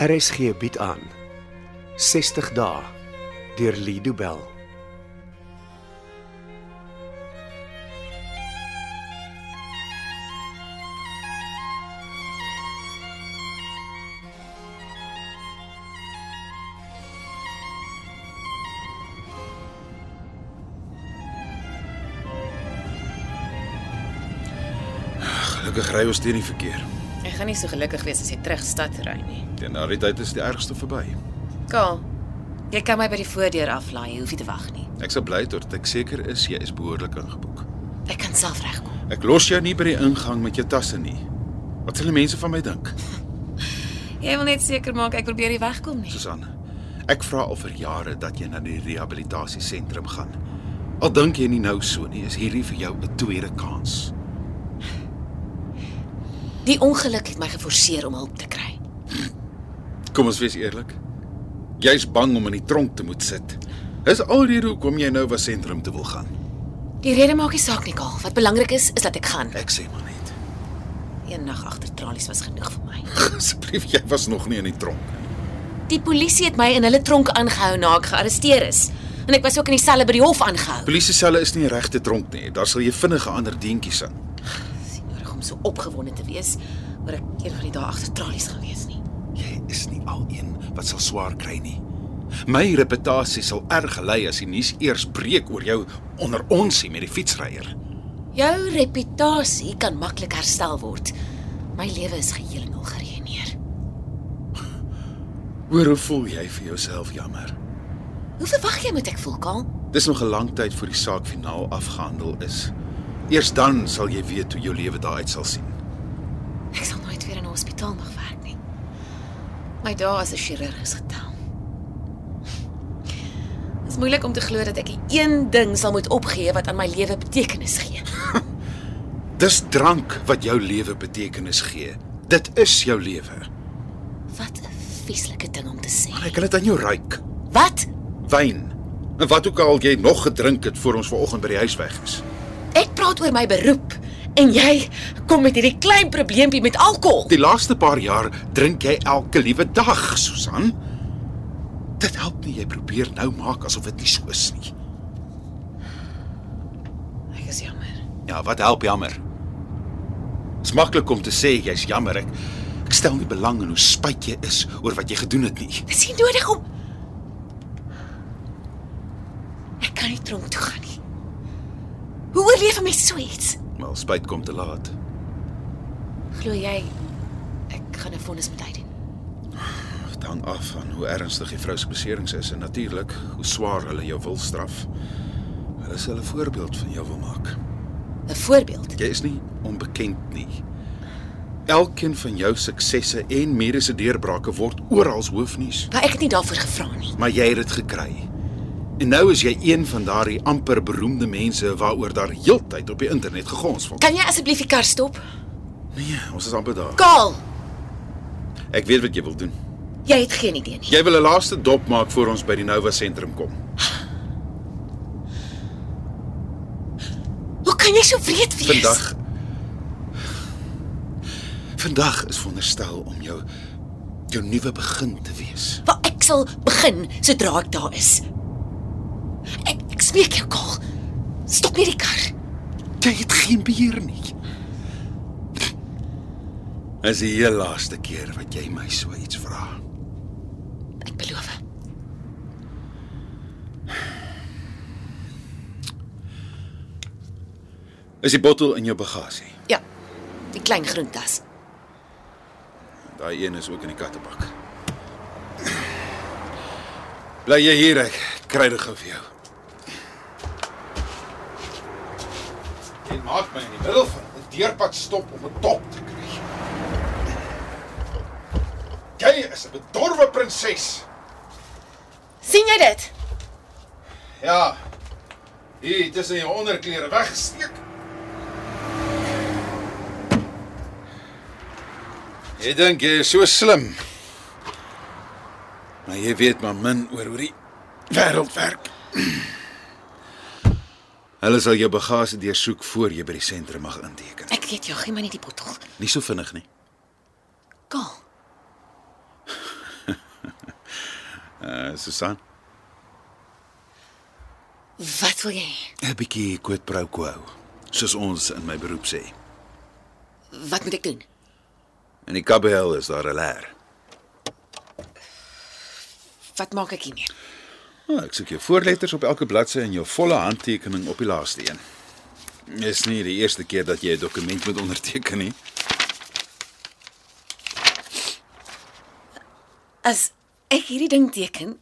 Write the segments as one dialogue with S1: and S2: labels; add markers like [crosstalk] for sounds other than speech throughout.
S1: RSG bied aan 60 dae deur Lido Bell.
S2: Gelukkig ry ons teen die verkeer.
S3: Ek gaan nie so gelukkig wees as jy terug stad ry nie.
S2: Teen daardie tyd is die ergste verby.
S3: Kaal. Jy kan my by die voordeur aflaai, jy hoef nie te wag nie.
S2: Ek sal bly totdat ek seker is jy is behoorlik ingeboek.
S3: Ek kan self regkom.
S2: Ek los jou nie by die ingang met jou tasse nie. Wat sal die mense van my dink?
S3: Jy wil net seker maak ek probeer nie wegkom nie.
S2: Susan, ek vra al vir jare dat jy na die rehabilitasiesentrum gaan. Al dink jy nie nou so nie, is hierdie vir jou 'n tweede kans.
S3: Die ongeluk het my geforseer om hulp te kry.
S2: Kom ons wees eerlik. Jy's bang om in die tronk te moet sit. Dis alreeds hoekom jy nou na sentrum toe wil gaan.
S3: Die rede maak nie saak nie, Kaal. Wat belangrik is, is dat ek gaan.
S2: Ek sê maar net. [laughs]
S3: Eendag agter tralies was genoeg vir my.
S2: Asseblief, jy was nog nie in die tronk nie.
S3: Die polisie het my in hulle tronk aangehou na ek gearresteer is. En ek was ook in die selle by die hof aangehou.
S2: Polisie selle is nie die regte tronk nie. Daar sal jy vinnige ander deentjies in.
S3: Dis nie nodig om so opgewonde te wees oor ek een van die dae agter tralies gaan wees nie.
S2: Jy is nie al een wat sal swaar kry nie. My reputasie sal erg gelei as die nuus eers breek oor jou onder onsie met die fietsryer.
S3: Jou reputasie kan maklik herstel word. My lewe is heeltemal geruïneer.
S2: Hoor hoe voel jy vir jouself jammer?
S3: Hoe verwag jy moet ek voel, Kaal?
S2: Dis nog 'n lang tyd voor die saak finaal afgehandel is. Eers dan sal jy weet hoe jou lewe daaruit sal sien.
S3: Ek sal nooit weer in 'n hospitaal mag werk nie. My dae as 'n chirurg is getel. Dit is moeilik om te glo dat ek een ding sal moet opgee wat aan my lewe betekenis gee.
S2: Dis drank wat jou lewe betekenis gee. Dit is jou lewe.
S3: Wat 'n vieslike ding om te
S2: Maar
S3: sê.
S2: ek kan dit aan jou ruik.
S3: Wat?
S2: Wyn. En wat ook al jy nog gedrink het voor ons vanoggend by die huis weg is.
S3: Ek praat oor my beroep en jy kom met hierdie klein probleempie met alkohol.
S2: Die laaste paar jaar drink jy elke liewe dag, Susan. Dit help nie jy probeer nou maak asof dit nie so is nie.
S3: Ek is jammer.
S2: Ja, wat help jammer. Dit's maklik om te sê jy's jammer. Ek, ek stel nie belang in hoe spyt jy is oor wat jy gedoen het nie.
S3: Dit is nie nodig om Ek kan nie tronk toe gaan nie. Hoe oorleef 'n mens so iets?
S2: Wel, spyt kom te laat.
S3: Glo jy ek gaan 'n vonnis moet uitdien?
S2: Dit hang af van hoe ernstig die vrou se beserings is en natuurlik hoe swaar hulle jou wil straf. Hulle sal 'n voorbeeld van jou wil maak.
S3: 'n Voorbeeld.
S2: Jy is nie onbekend nie. Elkeen van jou suksesse en mediese deurbrake word oral hoofnuus,
S3: Maar ek het nie daarvoor gevra nie.
S2: maar jy het dit gekry. En nou is jy een van daardie amper beroemde mense waaroor daar heeltyd op die internet gegons word.
S3: Kan jy asseblief die kar stop?
S2: Nee, ons is amper daar.
S3: Kaal,
S2: Ek weet wat jy wil doen.
S3: jy het geen idee nie.
S2: Jy wil 'n laaste dop maak voor ons by die Nova sentrum kom.
S3: Hoe kan jy so wreed wees?
S2: Vandag Vandag is veronderstel om jou jou nuwe begin te wees.
S3: Wel, ek sal begin sodra ek daar is. Ek ek smeek jou, Kaal. Stop nie die kar.
S2: Jy het geen beheer nie. As die heel laaste keer wat jy my so iets vra.
S3: Ek beloof.
S2: Is die bottel in jou bagasie?
S3: Ja. Die klein groen tas.
S2: Daai een is ook in die kattebak. Bly jy hier, ek kry dit gou vir jou. Jy maak my in die middel van 'n deurpad stop om 'n dop te kry. Jy is 'n bedorwe prinses.
S3: sien jy dit?
S2: Ja. Hier tussen jou onderklere weggesteek. Jy dink jy is so slim. Maar jy weet maar min oor hoe die wêreld werk. [clears throat] Hulle sal jou bagasie deursoek voor jy by die sentrum mag inteken.
S3: Ek weet jou, gee my net die bottel.
S2: Nie so vinnig nie.
S3: Kaal.
S2: Uh, Susan,
S3: Wat wil jy?
S2: 'n bietjie quid pro quo, soos ons in my beroep sê.
S3: Wat moet ek doen?
S2: In die KBL is daar 'n leer.
S3: Wat maak ek hiermee?
S2: Nou, ek soek jou voorletters op elke bladsy en jou volle handtekening op die laaste een. Dis nie die eerste keer dat jy 'n dokument moet onderteken nie.
S3: As ek hierdie ding teken,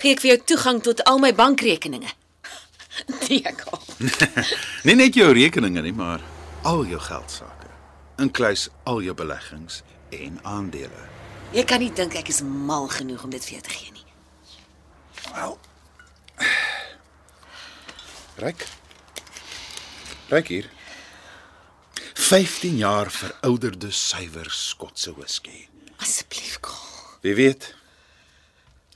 S3: gee ek vir jou toegang tot al my bankrekeninge. [laughs] Nee, ek al.
S2: Nie net jou rekeninge nie, maar al jou geld sake. Inkluis al jou beleggings en aandele.
S3: Jy kan nie dink ek is mal genoeg om dit vir jou te gee nie.
S2: Wel. Ryk. Ryk hier. 15 jaar verouderde suiwer Skotse whisky.
S3: Asseblief, Kaal.
S2: Wie weet?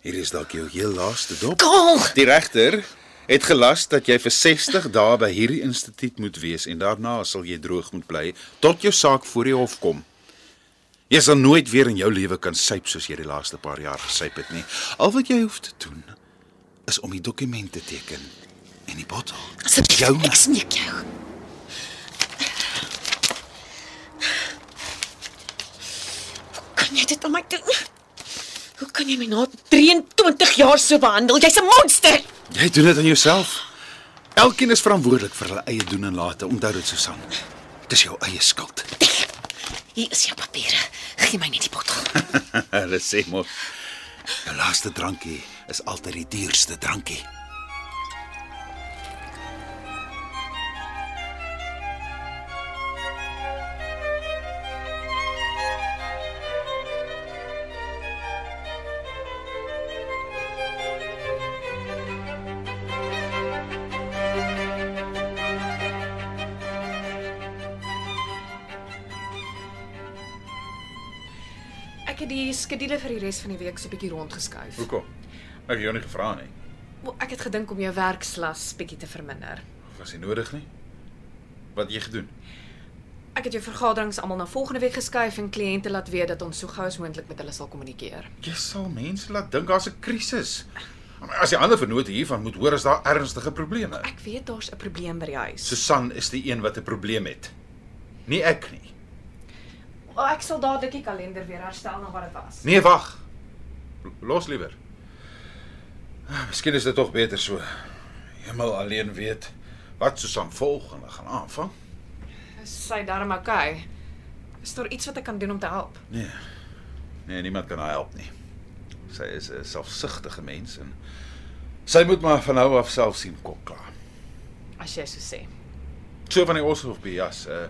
S2: Hier is dalk jou heel laaste dop.
S3: Kaal,
S2: Die regter het gelas dat jy vir 60 dae by hierdie instituut moet wees en daarna sal jy droog moet bly tot jou saak voor die hof kom. Jy sal nooit weer in jou lewe kan suip soos jy die laaste paar jaar gesuip het nie. Al wat jy hoef te doen is om die dokument te teken en die bottel.
S3: asseblief,
S2: Jou- nou.
S3: ek smeek jou. Hoe kan jy dit aan my doen? Hoe kan jy my na 23 jaar so behandel? Jy's 'n monster.
S2: Jy doen dit aan jouself. Elkeen is verantwoordelik vir hulle eie doen en late. Onthou dit, Susan. Dis jou eie skuld. [laughs]
S3: Hier is jou papiere. Gee my net die bottel.
S2: Hulle sê mos jou laaste drankie is altyd die duurste drankie.
S4: Ek het die skedule vir die res van die week so 'n bietjie rondgeskuif.
S2: Hoekom? Ek het jou nie gevra nie.
S4: Wel, Ek het gedink om jou werkslas bietjie te verminder.
S2: Was nie nodig nie. Wat het jy gedoen?
S4: Ek het jou vergaderings almal na volgende week geskuif en kliënte laat weet dat ons so gou as moontlik met hulle sal kommunikeer.
S2: Jy sal mense laat dink daar's 'n krisis. As die ander vennote hiervan moet hoor, is daar ernstige probleme.
S4: Ek weet daar's 'n probleem by die huis.
S2: Susan is die een wat 'n probleem het. Nie ek nie.
S4: Wel, ek sal dadelik die kalender weer herstel na wat dit was.
S2: Nee, wag. L- Los liewer. Ah, Miskien is dit tog beter so. Hemel alleen weet wat Susan volgende gaan aanvang.
S4: Is sy darm okay? Is daar iets wat ek kan doen om te help?
S2: Nee. Nee, niemand kan haar help nie. Sy is 'n selfsugtige mens en sy moet maar van nou af self sien kom klaar.
S4: As jy so sê.
S2: So van die Oshof by jas. Uh,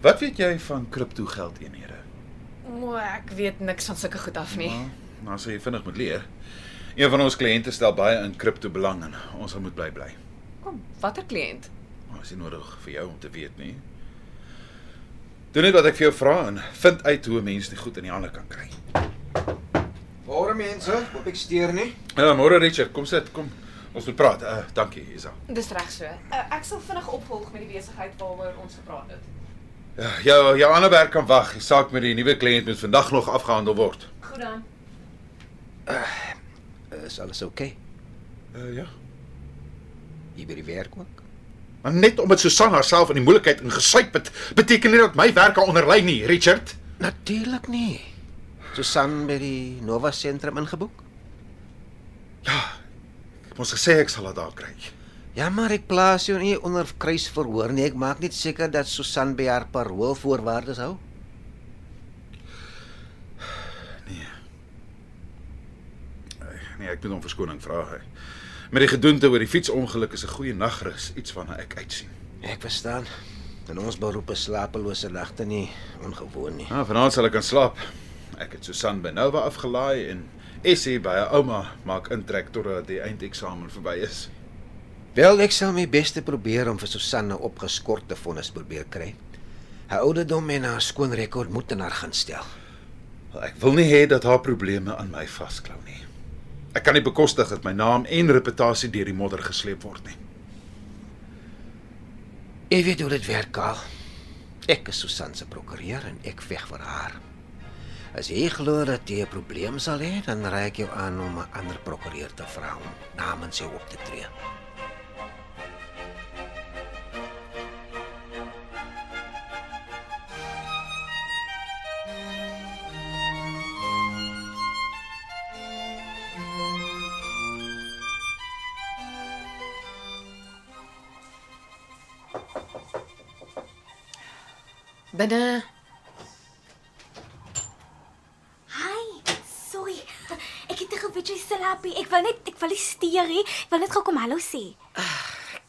S2: wat weet jy van kripto geldeenhede?
S4: O, ek weet niks van sulke goed af nie.
S2: Nou sê jy vinnig moet leer. Een van ons kliënte stel baie in kripto belang en ons sal moet bly bly.
S4: Kom, watter kliënt?
S2: Maar is nie nodig vir jou om te weet nie. Doen net wat ek vir jou vra en vind uit hoe 'n mens die goed in die hande kan kry.
S5: Môre mense, hoop ek steur nie.
S2: Ja, môre Richard, kom sit, kom. Ons moet praat. Uh, dankie, Isa.
S4: Dis reg so. Uh, ek sal vinnig opvolg met die besigheid waaroor ons gepraat het.
S2: Ja, jou jou ander werk kan wag. Die saak met die nuwe kliënt moet vandag nog afgehandel word.
S4: Goed dan.
S5: Is alles oukei? Okay?
S2: Uh ja.
S5: Hier by die werk ook.
S2: Maar net omdat Susan haarself in die moeilikheid ingesuip het, beteken nie dat my werk daaronder lê nie, Richard.
S5: Natuurlik nie. Susan by die Nova sentrum ingeboek?
S2: Ja. Ek het mos gesê ek sal dit daar kry.
S5: Ja, maar ek plaas jou nie onder kruisverhoor nie. Ek maak net seker dat Susan by haar paroolvoorwaardes hou.
S2: Nee, ek moet hom verskoning vra. hè. Met die gedoente oor die fietsongeluk is 'n goeie nagrus, iets waarna ek uitsien.
S5: Ek verstaan. In ons beroep is slapelose nagte nie ongewoon nie.
S2: Ja, vanaand sal ek kan slaap. Ek het Susan by Nova afgelaai en Essie by haar ouma maak intrek totdat die eindeksamen verby is.
S5: Wel, ek sal my bes te probeer om vir Susan 'n opgeskorte vonnis probeer kry. Haar ouderdom en haar skoon rekord moet in haar gaan stel.
S2: Wel, Ek wil nie hê dat haar probleme aan my vasklou nie. Ek kan nie bekostig dat my naam en reputasie deur die modder gesleep word nie.
S5: Ek weet hoe dit werk, Karl. Ek is Susan se prokureur en ek veg vir haar. As jy glo dat jy 'n probleem sal hê, dan raai ek jou aan om 'n ander prokureur te vra om namens jou op te tree.
S4: Binne
S6: Hi, sorry. Ek het 'n gewitjie salapie. Ek wil net ek wil nie steur nie. Ek wil net gou kom hallo sê.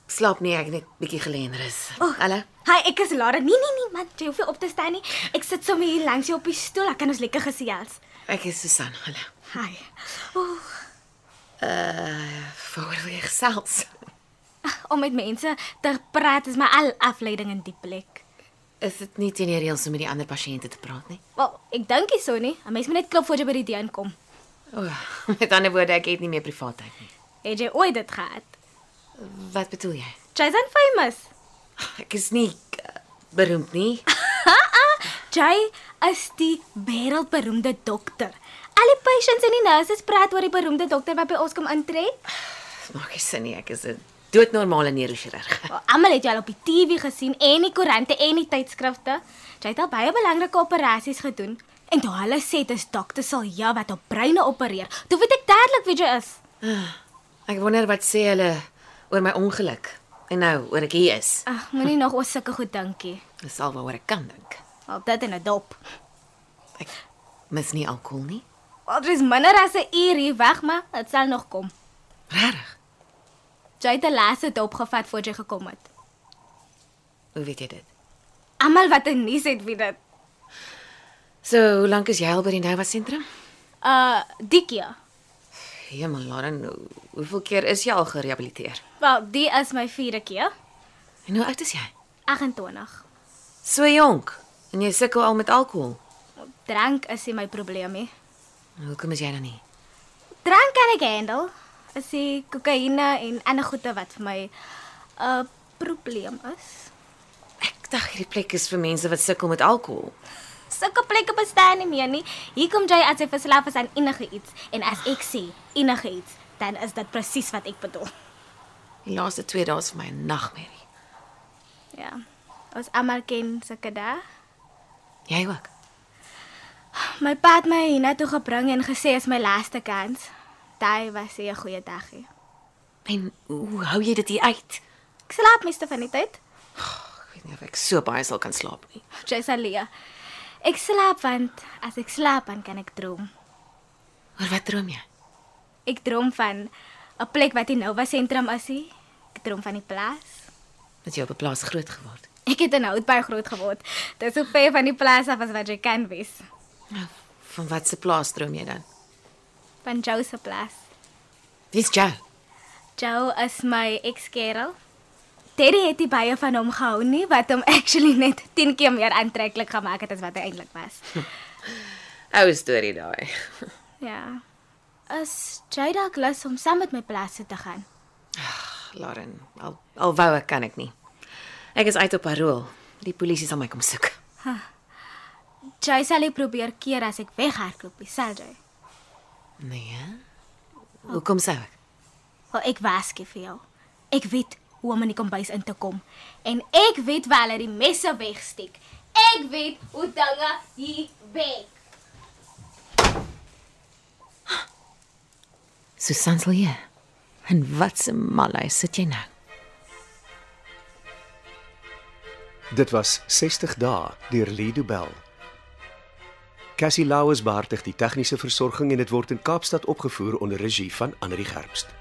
S3: Slaap nie, ek het net bietjie geleen rus.
S6: O,
S3: Hallo.
S6: Hi, ek is Lara. Nee nee nee, man, jy hoef nie op te staan nie. Ek sit sommer hier langs jou op die stoel. Ek kan ons lekker gesels.
S3: Ek is Susan. Hallo.
S6: Hi. Ooh,
S3: Voor wie gesels?
S6: om met mense te praat is my al afleiding in die plek.
S3: Is dit nie teen die reëls om met die ander pasiënte te praat nie?
S6: Wel, ek dink nie so nie. 'n Mens moet net klop voor jy by die deur kom.
S3: O, oh, met ander woorde, ek het nie meer privaatheid nie.
S6: Het jy ooit dit gehad?
S3: Wat bedoel jy?
S6: Jay's famous.
S3: Ek is nie eh, beroemd nie.
S6: Jay is die wêreldberoemde dokter. Al die patients en die nurses praat oor die beroemde dokter wat by ons kom intree.
S3: Dit maak nie sin nie. Ek is 'n doodnormale neurochirurg.
S6: Wel, Almal het jou al op die TV gesien en die koerante en die tydskrifte. Jy het al baie belangrike operasies gedoen. En toe hulle sê dit is dokter sal ja wat op breine opereer. Toe weet ek dadelik wie jy is.
S3: Ek wonder wat sê hulle oor my ongeluk en nou oor ek hier is.
S6: Ag, moenie nog oor sulke goed dinkie.
S3: Dis al waaroor ek kan dink.
S6: Op dit en 'n dop.
S3: Ek mis nie alkohol nie.
S6: Wat is minder as 'n uur hier weg, maar dit sal nog kom.
S3: Regtig?
S6: Jy het die laaste dop gevat voor jy gekom het.
S3: Hoe weet jy dit?
S6: Almal wat 'n nuus het wie dit.
S3: So, hoe lank is jy al by die Nova sentrum?
S6: Uh, die keer.
S3: Hemel, Lauren, hoe- hoeveel keer is jy al gerehabiliteer?
S6: Wel, die is my vierde keer.
S3: En hoe oud is jy?
S6: 28.
S3: So jonk. En jy sukkel al met alkohol. Nou,
S6: Drank is nie my probleem nie.
S3: Hoekom is jy dan nie?
S6: Drank kan ek handel. As jy kokaine en ander goede wat vir my 'n uh, probleem is.
S3: Ek dink hierdie plek is vir mense wat sukkel met alkohol.
S6: Sulke plekke bestaan nie meer nie. Hier kom jy as jy verslaaf is aan enige iets en as ek sê enige iets, dan is dit presies wat ek bedoel.
S3: Die laaste 2 dae is vir my 'n nagmerrie.
S6: Ja. Ons almal ken sulke dae.
S3: Jy ook.
S6: My pa het my hiernatoe gebring en gesê is my laaste kans. Daai was nie 'n goeie dagie.
S3: En hoe hou jy dit hier uit?
S6: Ek slaap meeste van die [laughs] tyd.
S3: Ek weet nie of ek so baie sal kan slaap nie.
S6: Jessalia. Ek slaap want as ek slaap dan kan ek droom.
S3: Oor wat droom jy?
S6: Ek droom van 'n plek wat die Nova sentrum is. nie. Ek droom van die plaas. [laughs]
S3: Dat jy op 'n plaas groot geword.
S6: Ek het in Houtbaai groot geword. Dis so ver van die plaas af as wat jy kan wees.
S3: Nou, van watse plaas droom jy dan?
S6: Van Jou se plaas.
S3: Dis jou.
S6: Jou is my ekskerel. Terry het nie baie van hom gehou nie wat hom [laughs] actually net 10 keer meer aantreklik gemaak het as wat hy eintlik was.
S3: Ou storie daai.
S6: Ja. As jy dalk lus om saam met my plaas toe te gaan.
S3: Lauren, al al wou ek kan ek nie. Ek is uit op parol. Die polisie sal my kom soek.
S6: Jy sal nie probeer keer as ek weghardloop, nie, sal jy?
S3: Nee. hè? Hoekom sou ek?
S6: Wel, ek waarsku vir jou. Ek weet hoe om in die kombuis in te kom en ek weet waar hulle die messe wegsteek. Ek weet hoe dinge hier werk.
S3: Susan sal jy. En watse malai sit jy nou?
S1: Dit was 60 dae deur Lido Bell. Cassie Lauers beheer die tegniese versorging en dit word in Kaapstad opgevoer onder regie van Anri Gerbst.